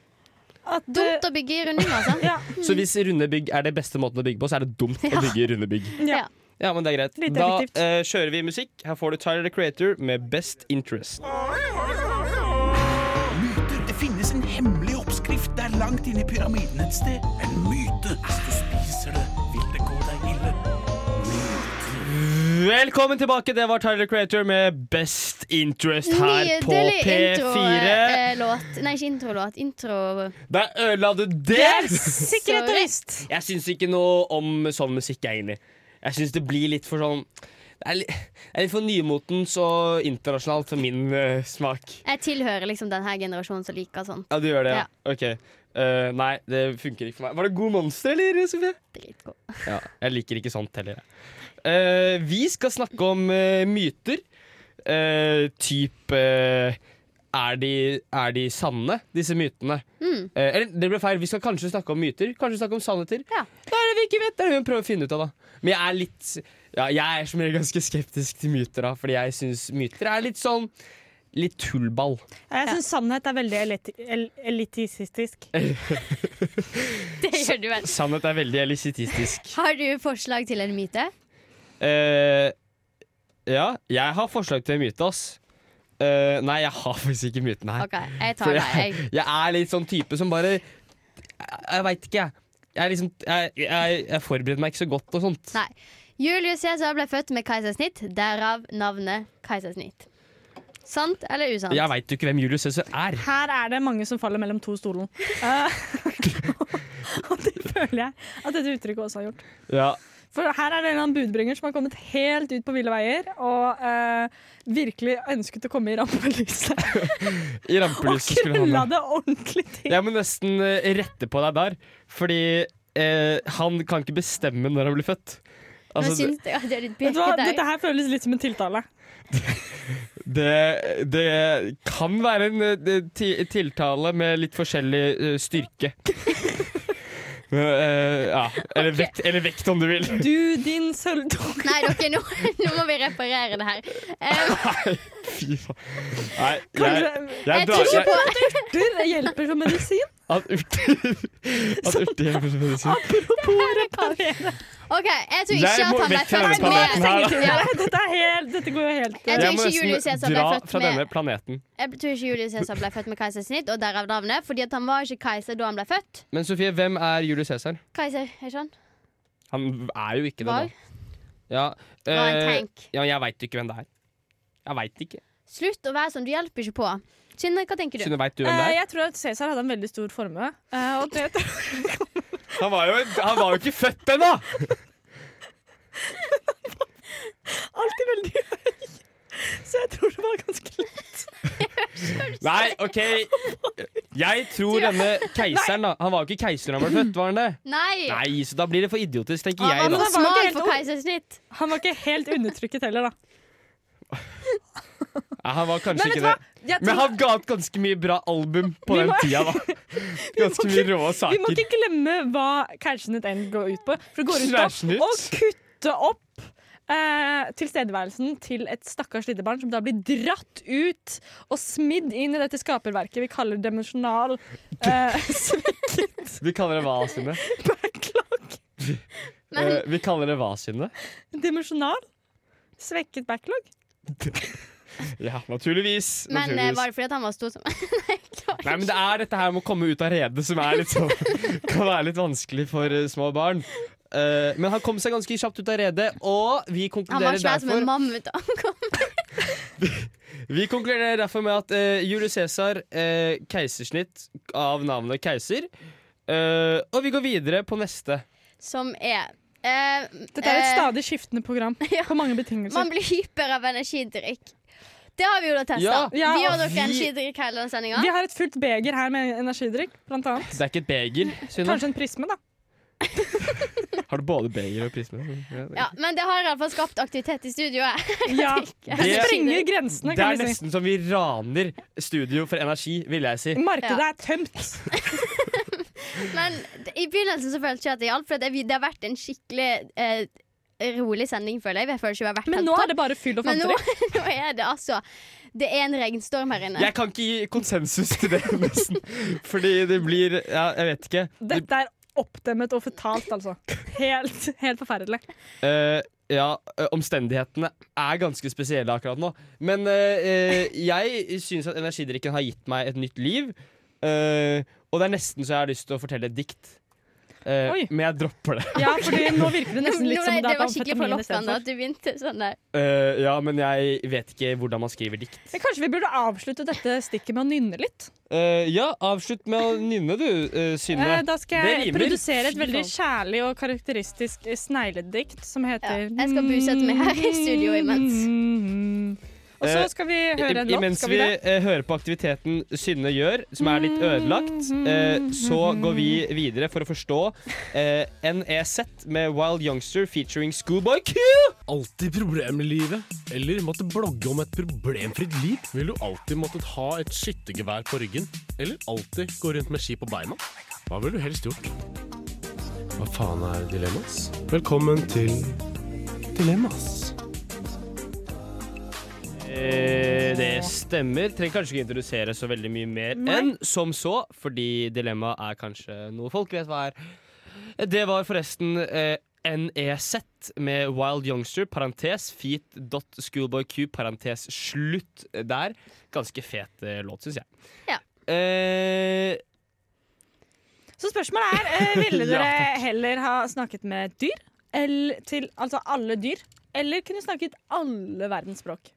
S1: At, eh,
S3: Dumt å bygge i rundinger, altså.
S1: ja,
S2: Så hvis runde bygg er det beste måten å bygge på, så er det dumt å bygge i runde bygg.
S1: ja.
S3: Ja.
S2: Ja, men det er greit.
S1: Litt
S2: Da
S1: effektivt.
S2: eh, kjører vi musikk. Her får du Tyler the Creator med Best Interest.
S7: Myter. Det finnes en hemmelig oppskrift der langt inne i pyramiden et sted. En myte. Hvis du spiser det, vil det gå deg ille.
S2: Velkommen tilbake, det var Tyler the Creator med Best Interest her på
S3: Nydelig eh.
S2: P4.
S3: intro-låt. Nei, ikke intro-låt. Intro...
S2: Der ødela du det!
S1: Sikkerhet og
S3: Sorry.
S1: visst.
S2: Jeg syns ikke noe om sånn musikk, egentlig. Jeg syns det blir litt for sånn Det er litt, det er litt for nymotens og internasjonalt for min eh, smak.
S3: Jeg tilhører liksom denne generasjonen som liker sånt.
S2: Ja, du gjør det, ja? OK. Eh, nei, det funker ikke for meg. Var det god monster, eller, Sofie?
S3: Dritgod.
S2: Ja, jeg liker ikke sånt heller. jeg. Eh, vi skal snakke om eh, myter. Uh, typ eh, er, de, er de sanne, disse mytene?
S3: Mm.
S2: Eh, eller det ble feil. Vi skal kanskje snakke om myter. Kanskje snakke om sannheter.
S3: Ja.
S2: Da er det vi ikke vet. Det er det vi prøver å finne ut av, da. Men jeg er litt ja, Jeg er som regel ganske skeptisk til myter, da, fordi jeg syns myter er litt sånn Litt tullball.
S1: Jeg syns sannhet er veldig elit el elitistisk.
S2: Eh.
S3: Det gjør du vel.
S2: Sannhet er veldig elisitistisk.
S3: Har du forslag til en myte?
S2: Eh, ja, jeg har forslag til en myte, ass. Eh, nei, jeg har faktisk ikke myten her.
S3: OK, jeg
S2: For
S3: tar deg. Jeg
S2: jeg, jeg er litt sånn type som bare Jeg, jeg veit ikke, jeg. Jeg, er liksom, jeg, jeg. jeg forbereder meg ikke så godt og sånt.
S3: Nei. Julius Cæsar ble født med keisersnitt, derav navnet keisersnitt. Sant eller usant?
S2: Jeg veit jo ikke hvem Julius Cæsar er.
S1: Her er det mange som faller mellom to stolen. Eh, og det føler jeg at dette uttrykket også har gjort.
S2: Ja,
S1: For her er det en eller annen budbringer som har kommet helt ut på ville veier og eh, virkelig ønsket å komme i rampelyset.
S2: I
S1: Og
S2: rampelyset skulle han
S1: knulla
S2: ha.
S1: det ordentlig til.
S2: Jeg må nesten eh, rette på deg der, fordi eh, han kan ikke bestemme når han blir født.
S3: Nå
S2: Altså,
S3: syns jeg at det er litt
S1: Vet du hva?
S3: bjekket
S1: Dette
S3: der.
S1: her føles litt som en tiltale.
S2: det, det kan være en eh, det, ti, tiltale med litt forskjellig eh, styrke. Men, eh, ja. Eller vekt, eller vekt, om du vil.
S1: Du, din sølvdunk.
S3: Nei, dere, nå, nå må vi reparere det her. Eh,
S2: Fy faen. Nei, jeg,
S1: Kanskje
S2: jeg
S3: jeg
S2: drar
S3: tror ikke på
S1: urter hjelper som medisin?
S2: At urter At urter hjelper som medisin.
S1: Apropos reparere.
S3: OK, jeg tror
S5: Jeg
S3: ikke
S5: må
S3: at han ble
S5: vekk fra
S3: født
S5: denne
S3: med
S5: planeten her.
S3: Ja.
S1: Dette, er helt, dette går jo helt
S3: Jeg
S1: eh,
S3: tror
S5: Jeg må
S3: ikke Julius
S5: nesten
S3: Caesar ble
S5: dra
S3: født
S5: fra denne
S3: med
S5: planeten.
S3: Jeg tror ikke Julius Cæsar ble født med keisersnitt, og derav navnet. Fordi at han var ikke keiser da han ble født.
S2: Men Sofie, hvem er Julius Cæsar?
S3: Keiser, er ikke han?
S2: Han er jo ikke det,
S3: Var?
S2: da. Ja,
S3: Var en
S2: eh,
S3: tank.
S2: ja, men jeg veit ikke hvem det er. Jeg veit ikke.
S3: Slutt å være sånn, du hjelper ikke på. Synne, hva tenker du?
S2: Synne, veit du hvem det
S1: eh,
S2: er?
S1: Jeg tror at Cæsar hadde en veldig stor formue. eh, og det,
S2: Han var jo, han var jo ikke født ennå!
S1: alltid veldig høy. Så jeg tror det var ganske lett.
S2: Nei, OK. Jeg tror denne keiseren, da. Han var jo ikke keiser da han ble født, var han det?
S3: Nei!
S2: Nei, så da blir det for idiotisk, tenker
S3: Han
S2: jeg,
S3: var
S2: da.
S1: Han var jo ikke
S3: for smal
S1: helt
S3: for
S1: ung.
S3: keisersnitt. eh,
S1: Han var ikke helt undertrykket heller, da.
S2: Nei, han var kanskje
S1: altså- Men vet du
S2: ikke
S1: hva?
S2: det.
S1: Jeg
S2: Men
S1: tror,
S2: han ga ut ganske mye bra album på
S1: Vi
S2: den
S1: må-
S2: tida, da. Ganske mye rå
S1: vi må
S2: saker.
S1: ikke glemme hva Keisersnitt N går ut på. For det går ut
S2: Keisersnitt?
S1: på å kutte opp eh, tilstedeværelsen til et stakkars lite barn som da blir dratt ut og smidd inn i dette skaperverket vi kaller dimensjonal eh, svekket
S2: Vi kaller det hva, Synne?
S1: backlog.
S3: Men
S2: Eh, vi kaller det hva, Synne?
S1: Dimensjonal svekket backlog?
S2: Ja, naturligvis.
S3: Men eh,
S2: naturligvis.
S3: var det fordi at han var stor som Nei, jeg klarer
S2: Nei, men det er dette her med å komme ut av redet som er litt sånn, kan være litt vanskelig for eh, små barn. Eh, men han kom seg ganske kjapt ut av redet, og vi
S3: ikke. Han var
S2: konkluderer,
S3: svær som en
S2: derfor,
S3: mammut. da han kom.
S2: vi konkluderer derfor med at eh, Julius Cæsar, eh, keisersnitt av navnet keiser. Eh, og vi går videre på neste.
S3: Som er eh,
S1: Dette er et
S3: eh,
S1: stadig skiftende program på mange betingelser.
S3: Man blir hyper av energidrikk. Det har vi jo da testa.
S2: Ja.
S1: Ja,
S3: vi
S1: og
S3: og dere
S2: vi-
S3: energidrikk hele den sendinga.
S1: Vi har et fullt beger her med energidrikk, blant annet.
S2: Det er ikke et beger, Synne.
S1: Kanskje en prisme, da.
S2: Har du både beger og prisme?
S3: Ja, men det har iallfall skapt aktivitet i studioet.
S1: Ja. Det
S2: Det-
S1: sprenger grensene,
S2: Det
S1: kan
S2: er
S1: vi si.
S2: nesten som vi raner studio for energi, vil jeg si.
S1: Markedet
S3: Ja.
S1: er tømt.
S3: Men d- i begynnelsen så følte jeg at det hjalp, for det, vi- det har vært en skikkelig eh, rolig sending, føler jeg. Jeg føler ikke vi har vært
S1: Men
S3: helt
S1: nå
S3: topp.
S1: er det bare fyll og
S3: Men nå,
S1: fanteri.
S3: nå er det altså Det er en regnstorm her inne.
S2: Jeg kan ikke gi konsensus til det, nesten. Fordi det blir Ja, jeg vet ikke. Det,
S1: Dette er oppdemmet og fatalt, altså. Helt, helt forferdelig.
S2: eh, ja, eh, omstendighetene er ganske spesielle akkurat nå. Men eh, eh, jeg syns at energidrikken har gitt meg et nytt liv. Eh, og det er nesten så jeg har lyst til å fortelle et dikt. Eh,
S1: Oi.
S2: men jeg dropper det.
S1: Ja, fordi nå virker det
S3: Nå
S1: nesten
S3: ble-
S1: litt som
S3: det
S1: det er
S3: var skikkelig
S1: amfetamin
S3: forlokkende
S1: istedenfor.
S3: at du begynte sånn der.
S2: Eh, ja, men jeg vet ikke hvordan man skriver dikt.
S1: Men Kanskje vi burde avslutte dette stikket med å nynne litt?
S2: Eh, ja, avslutt med å nynne, du, eh, Synne.
S1: Eh, Da skal
S2: det
S1: jeg
S2: rimer.
S1: produsere et veldig kjærlig og karakteristisk eh, snegledikt som heter
S3: Ja, jeg skal busette meg her i studio
S1: imens. Og så
S2: Eh,
S1: skal vi høre en
S2: I-
S1: låt.
S2: Imens
S1: Skal
S2: vi
S1: vi det?
S2: eh, hører på aktiviteten Synne gjør, som er litt ødelagt,
S1: Mm-hmm.
S2: eh, så går vi videre for å forstå eh, NEZ med Wild Youngster featuring Schoolboy Q.
S8: alltid problemer i livet? Eller måtte blogge om et problemfritt liv? Vil du alltid måttet ha et skyttergevær på ryggen? Eller alltid gå rundt med ski på beina? Hva ville du helst gjort? Hva faen er dilemmas? Velkommen til Dilemmas.
S2: Eh, det stemmer. Trenger kanskje ikke introdusere så veldig mye mer enn som så, fordi dilemmaet er kanskje noe folk vet hva er. Det var forresten eh, NEZ med Wild Youngster, parentes feat.schoolboyq, parentes slutt der. Ganske fet eh, låt, syns jeg.
S3: Ja.
S2: Eh,
S1: Så spørsmålet er, eh, ville
S2: Ja,
S1: dere heller ha snakket med et dyr? Eller til altså alle dyr? Eller kunne snakket alle verdens språk?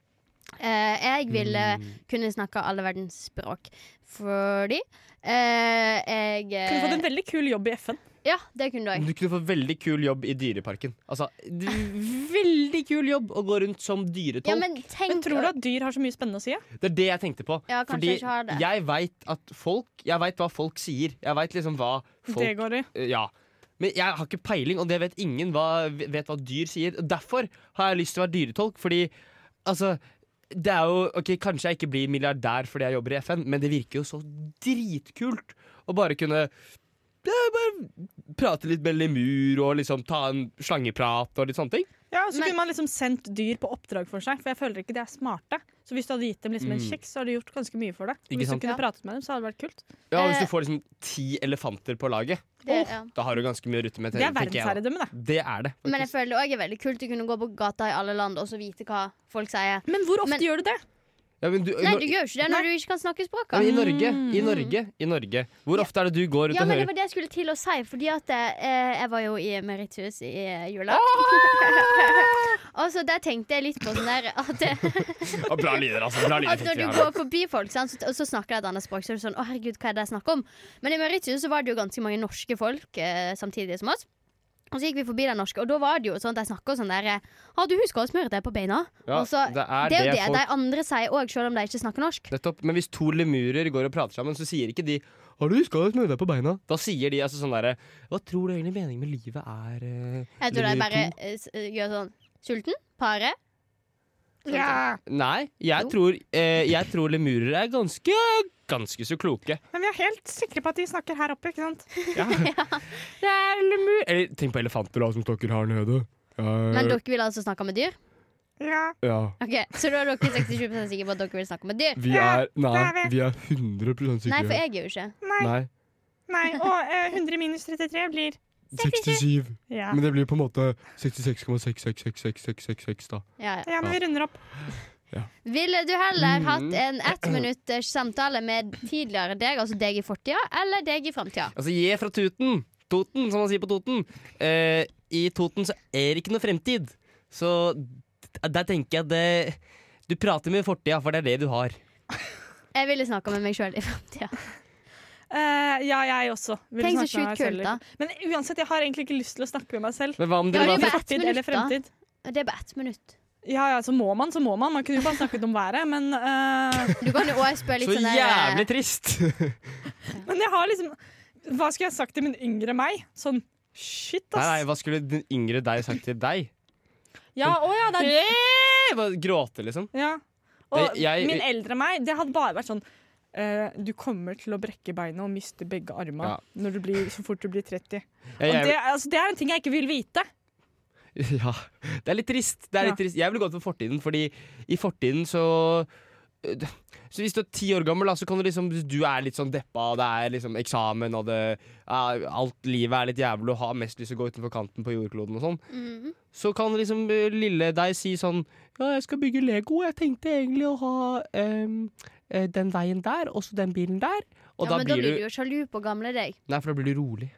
S3: Eh, jeg ville
S2: Mm.
S3: kunne snakke alle verdens språk. Fordi eh, jeg eh,
S1: Kunne fått en veldig kul jobb i FN.
S3: Ja, det kunne du òg.
S2: du kunne få veldig kul jobb i Dyreparken. Altså, d- veldig kul jobb å gå rundt som dyretolk.
S3: Ja, men
S1: Men
S3: tenk
S1: tror du at dyr har så mye spennende å si? Ja?
S2: Det er det jeg tenkte på.
S3: Ja, kanskje
S2: Fordi
S3: jeg ikke har det.
S2: jeg veit at folk Jeg vet hva folk sier. Jeg veit liksom hva
S1: Det
S2: folk
S1: går i.
S2: Ja. Men jeg har ikke peiling, og det vet ingen hva, vet hva dyr sier. Derfor har jeg lyst til å være dyretolk, fordi altså det er jo, ok, Kanskje jeg ikke blir milliardær fordi jeg jobber i FN, men det virker jo så dritkult å bare kunne ja, bare prate litt med lemur og liksom ta en slangeprat og litt sånne ting.
S1: Ja, og Så
S3: Men-
S1: kunne man liksom sendt dyr på oppdrag for seg, for jeg føler ikke de er smarte. Så hvis du hadde gitt dem liksom en
S2: Mm.
S1: kjeks, så hadde du gjort ganske mye for det. Og
S2: Ikke
S1: hvis du
S2: sant?
S1: kunne
S3: Ja.
S1: pratet med dem, så hadde det vært kult.
S2: Ja, Hvis du får liksom ti elefanter på laget,
S3: Eh, Det, ja.
S2: da har du ganske mye å rutte med.
S1: Det er
S2: tenker jeg, da.
S1: verdensherredømme, det.
S2: Det er det.
S3: Men jeg
S2: faktisk.
S3: føler det også er veldig kult å kunne gå på gata i alle land og så vite hva folk sier.
S1: Men hvor ofte
S3: Men-
S1: gjør du det?
S2: Ja, men du,
S3: Nei,
S2: Nor-
S3: du gjør jo ikke det når du ikke kan snakke
S2: ja,
S3: språket.
S2: men I Norge, i Norge, i Norge. Hvor ofte er det sånn du går rundt
S3: Ja,
S2: og
S3: men det
S2: hører
S3: var det jeg skulle til å si, fordi at eh, jeg var jo i Merithus i eh, jula. og så der tenkte jeg litt på sånn der at,
S2: Å, Bra lyder, altså. Bra lyder
S3: at
S2: fikk
S3: når
S2: vi
S3: du
S2: her.
S3: går forbi folk, sant, så, og så snakker de et annet språk, så er du sånn Å, herregud, hva er det jeg snakker om? Men i Merithus så var det jo ganske mange norske folk eh, samtidig som oss. Og så gikk vi forbi de norske, og da var det jo sånn at de snakka sånn der eh, Å, du husker å smøre deg på beina?
S2: Ja,
S3: altså,
S2: det er
S3: Det er jo
S2: det
S3: det
S2: folk
S3: de andre sier òg, selv om de ikke snakker norsk.
S2: Nettopp. Men hvis to lemurer går og prater sammen, så sier ikke de har du huska å smøre deg på beina? Da sier de altså sånn derre Hva tror du egentlig meningen med livet er? eh,
S3: Jeg tror de
S2: Lemur
S3: bare
S2: to?»
S3: eh, s- eh, gjør sånn Sulten? Pare? Sånn
S2: Nei, jeg
S3: Jo.
S2: tror, eh, jeg tror lemurer er ganske ganske så kloke.
S1: Men vi er helt sikre på at de snakker her oppe, ikke sant?
S2: Det er lemur Eller tenk på elefanter da som snakker her nede.
S3: Men dere vil altså snakke med dyr?
S1: Ja.
S2: ja.
S3: Ok, Så da er dere 67 sikre på at dere vil snakke med dyr?
S2: Vi er Nei, vi er 100 sikre.
S3: Nei, for jeg er jo ikke.
S2: Nei.
S1: Nei, og 100 minus 33 blir
S2: 67.
S1: Ja,
S2: det blir på en måte 66,6666666, da.
S3: Ja, ja.
S1: ja men vi runder opp.
S3: Ville du
S2: Mm.
S3: heller hatt en ettminutters samtale med tidligere deg, altså deg i fortida, eller deg i framtida?
S2: Altså, jeg er fra Tuten. Toten, som man sier på Toten. Eh, I Toten så er det ikke noe fremtid. Så d- der tenker jeg det Du prater med fortida, for det er det du har.
S3: Jeg ville snakka med meg sjøl i framtida.
S1: Eh, ja, jeg også. Vil
S3: Tenk
S1: snakke
S3: så
S1: med
S3: sjukt
S1: meg
S3: kult,
S1: selv.
S3: da.
S1: Men uansett, jeg har egentlig ikke lyst til å snakke med meg selv.
S2: Men hva om
S3: Ja,
S2: dere
S3: det
S2: var
S3: er bare ett
S1: Fortid eller
S3: minutt, da.
S1: fremtid.
S3: Det er bare ett minutt.
S1: Ja, ja, så må man, så må man. Man kunne jo bare snakket om været, men eh,
S3: Du kan jo òg spørre litt
S2: så
S3: sånn
S2: jævlig
S3: der
S2: trist?
S1: Men jeg har liksom Hva skulle jeg sagt til min yngre meg? Sånn shit,
S2: Nei, nei,
S1: ass.
S2: hva skulle den yngre deg sagt til deg?
S1: Ja, å ja, det er
S2: Eh, hva- Gråte, liksom?
S1: ja. Og
S2: Det- jeg-
S1: min eldre meg, det hadde bare vært sånn eh, du kommer til å brekke beinet og miste begge armene når du blir, så fort du blir 30.
S2: Jeg,
S1: og
S2: jeg,
S1: det, altså, det er en ting jeg ikke vil vite.
S2: Ja, det er litt trist. Det er litt trist. Jeg ville gått for fortiden, fordi i fortiden så øh, så hvis du er ti år gammel, da, så kan du liksom Hvis du er litt sånn deppa, og det er liksom eksamen, og det er, alt livet er litt jævlig, og har mest lyst til å gå utenfor kanten på jordkloden og sånn,
S3: Mhm.
S2: så kan liksom eh, lille deg si sånn Ja, jeg skal bygge Lego. Jeg tenkte egentlig å ha em, eh, den veien der, og så den bilen der. Og
S3: ja,
S2: da
S3: Men da
S2: blir
S3: blir du
S2: du
S3: jo sjalu på gamle deg.
S2: Nei, for da blir du rolig.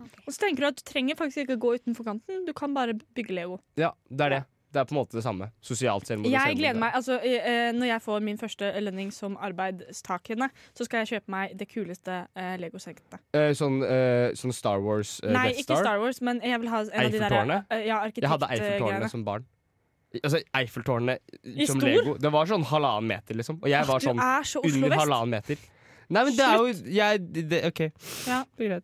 S1: Og så tenker du at du trenger faktisk ikke å gå utenfor kanten. Du kan bare bygge Lego.
S2: Ja, det er det. Det er på en måte det samme. Sosialt selvmord. og
S1: Jeg
S2: selvmord.
S1: gleder meg, altså i- eh, Når jeg får min første lønning som arbeidstakerende, så skal jeg kjøpe meg det kuleste eh, Lego-settet.
S2: Eh, sånn, eh, sånn Star Wars eh,
S1: Nei,
S2: Death
S1: ikke
S2: Star.
S1: Star Wars, men jeg vil ha en av de der
S2: Eiffeltårnet?
S1: eh, ja,
S2: Jeg hadde Eiffeltårnet
S1: arkitektgreiene.
S2: som barn. I- Altså Eiffeltårnet
S1: I
S2: som
S1: stor?
S2: Lego. Det var sånn halvannen meter, liksom. Og jeg var sånn
S1: Du er så Oslo
S2: under
S1: Vest.
S2: halvannen meter. Nei, men det er jo jeg, det- det, OK.
S1: Ja.
S2: Greit.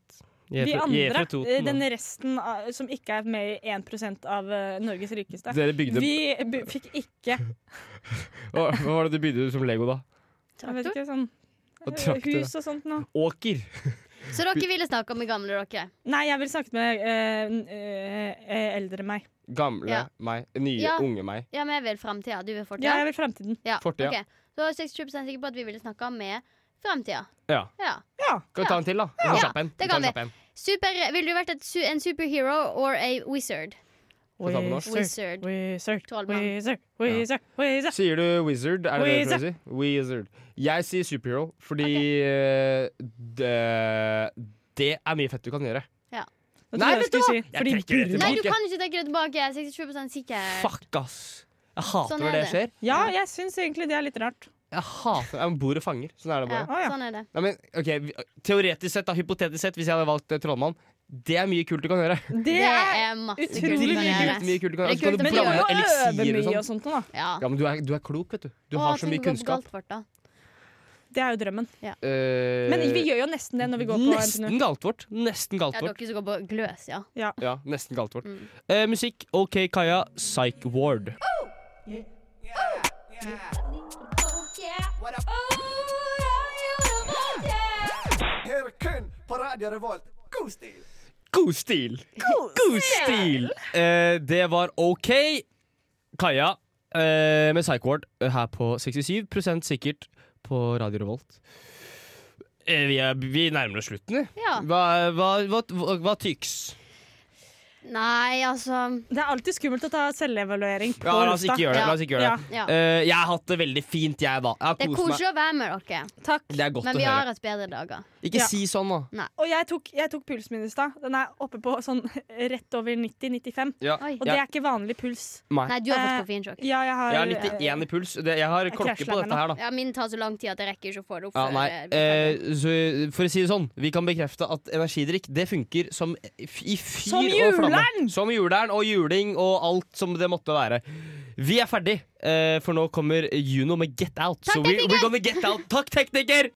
S2: Jeg er
S1: De
S2: fra- jeg er fra
S1: andre,
S2: Toten,
S1: eh,
S2: da.
S1: den resten av, som ikke er med i 1 av eh, Norges rikeste
S2: Dere bygde
S1: Vi bu- fikk ikke
S2: Hva hva var det du bygde som Lego, da?
S1: jeg vet
S3: Traktor.
S1: ikke, sånn,
S2: Og
S1: eh,
S2: traktor,
S1: hus og sånt noe.
S2: Åker.
S3: Så dere ville snakka med gamle dere?
S1: Nei, jeg vil snakke med eh, n- eh, eh, eldre meg.
S2: Gamle
S3: Ja.
S2: meg. Nye,
S3: Ja.
S2: unge meg.
S3: Ja, men jeg vil framtida. Du vil fortida?
S1: Ja, jeg vil framtiden.
S3: Ja,
S2: Fortida.
S3: ok. Så er 67 sikker på at vi ville snakka med framtida.
S2: Ja.
S3: ja.
S2: Skal vi ta en til, da?
S3: Ja,
S2: Kjapp en.
S3: det
S2: Vi tar
S3: kan vi.
S2: kjapp en.
S3: Super, ville du vært et, su- en superhero or a wizard?
S2: Hva sa du nå?
S1: Wizard,
S3: Wizard.
S1: wizard,
S3: Trollmann.
S1: wizard, wizard, wizard.
S2: Sier du wizard? Er det det du
S1: Wizard.
S2: prøver å si? Wizard. Jeg sier superhero, fordi eh, det, det er mye fett du kan gjøre.
S1: Da
S2: Nei,
S1: trodde jeg
S2: vet
S1: skulle
S2: du hva?
S1: si,
S2: Jeg
S1: fordi
S2: trekker det
S1: Burma-
S3: Nei, du
S2: Tilbake.
S3: kan ikke tenke deg tilbake. Jeg er 67 sikker.
S2: Fuck, ass! Jeg hater
S3: Sånn
S2: når
S3: er
S2: det skjer.
S1: Ja, jeg syns egentlig det er litt rart.
S2: Jeg hater Jeg bor og fanger. Sånn er det
S3: Ja,
S2: bare.
S1: Å, ja.
S3: sånn er det.
S2: Nei, men, ok, vi- Teoretisk sett, da, hypotetisk sett, hvis jeg hadde valgt eh, trollmann, det er mye kult du kan gjøre.
S1: Det
S3: Det
S1: er
S3: er masse
S1: utrolig
S3: kult å
S1: mye
S3: gjøre.
S2: Mye kult du kan,
S3: Det er
S2: og så kan
S3: kult,
S1: Men
S2: du
S3: men
S1: du må
S2: blande
S1: jo øve
S2: eliksir og
S1: mye og sånt
S2: sånn.
S1: nå, da.
S3: Ja.
S2: Ja, men du er, du er klok, vet du. Du
S3: Å,
S2: har så
S3: tenk
S2: mye
S3: å gå på
S2: kunnskap.
S3: Galtvort, da.
S1: Det er jo drømmen.
S2: Eh,
S1: Men vi gjør jo nesten det når vi går på
S2: Nesten
S1: NTNU.
S2: galt vårt. Nesten galt
S3: Ja,
S2: vårt.
S3: dere som går på Gløs, ja.
S2: Ja, nesten galt vårt.
S3: Mm.
S2: Eh, musikk, OK Kaja, Psych Ward. God stil! God stil! Eh, det var OK. Kaja eh, med Psychward eh, her på 67 sikkert på Radio Revolt. Eh, vi, er, vi nærmer oss slutten, vi.
S3: Ja.
S2: Hva, hva, hva, hva, hva tyks?
S3: Nei, altså
S1: Det er alltid skummelt å ta selvevaluering på
S2: Ja, la oss ikke gjøre det. La oss ikke gjøre det.
S3: Ja.
S2: Eh, jeg har hatt det veldig fint, jeg, da. Jeg har
S3: Det er
S2: kost meg.
S3: koselig å være med dere,
S1: Takk.
S2: Det er godt
S3: men
S2: å
S3: vi har
S2: høre.
S3: hatt bedre dager.
S2: Ikke
S1: Ja.
S2: si sånn, da.
S1: Og jeg tok, jeg tok pulsen min i stad. Den er oppe på sånn rett over 90-95.
S2: Ja.
S3: Oi.
S1: Og det er ikke vanlig puls.
S3: Nei, du har fått
S1: Eh,
S3: koffeinsjokk.
S1: Ja, jeg har,
S2: Jeg har 91 i puls. Det, jeg har
S1: Jeg
S2: klokke
S1: krasjer
S2: på
S1: meg nå.
S2: dette her, da.
S3: Ja, min tar så lang tid at jeg rekker ikke å få det opp.
S2: Ja,
S3: før
S2: nei.
S3: det blir ferdig.
S2: Eh, så, for å si det sånn, vi kan bekrefte at energidrikk det funker som f- i fyr
S1: Som
S2: og flamme.
S1: juleren!
S2: Som juleren og juling og alt som det måtte være. Vi er ferdig, eh, for nå kommer Juno med Get Out.
S3: Takk,
S2: så we,
S3: tekniker!
S2: we're gonna get out. Takk, tekniker!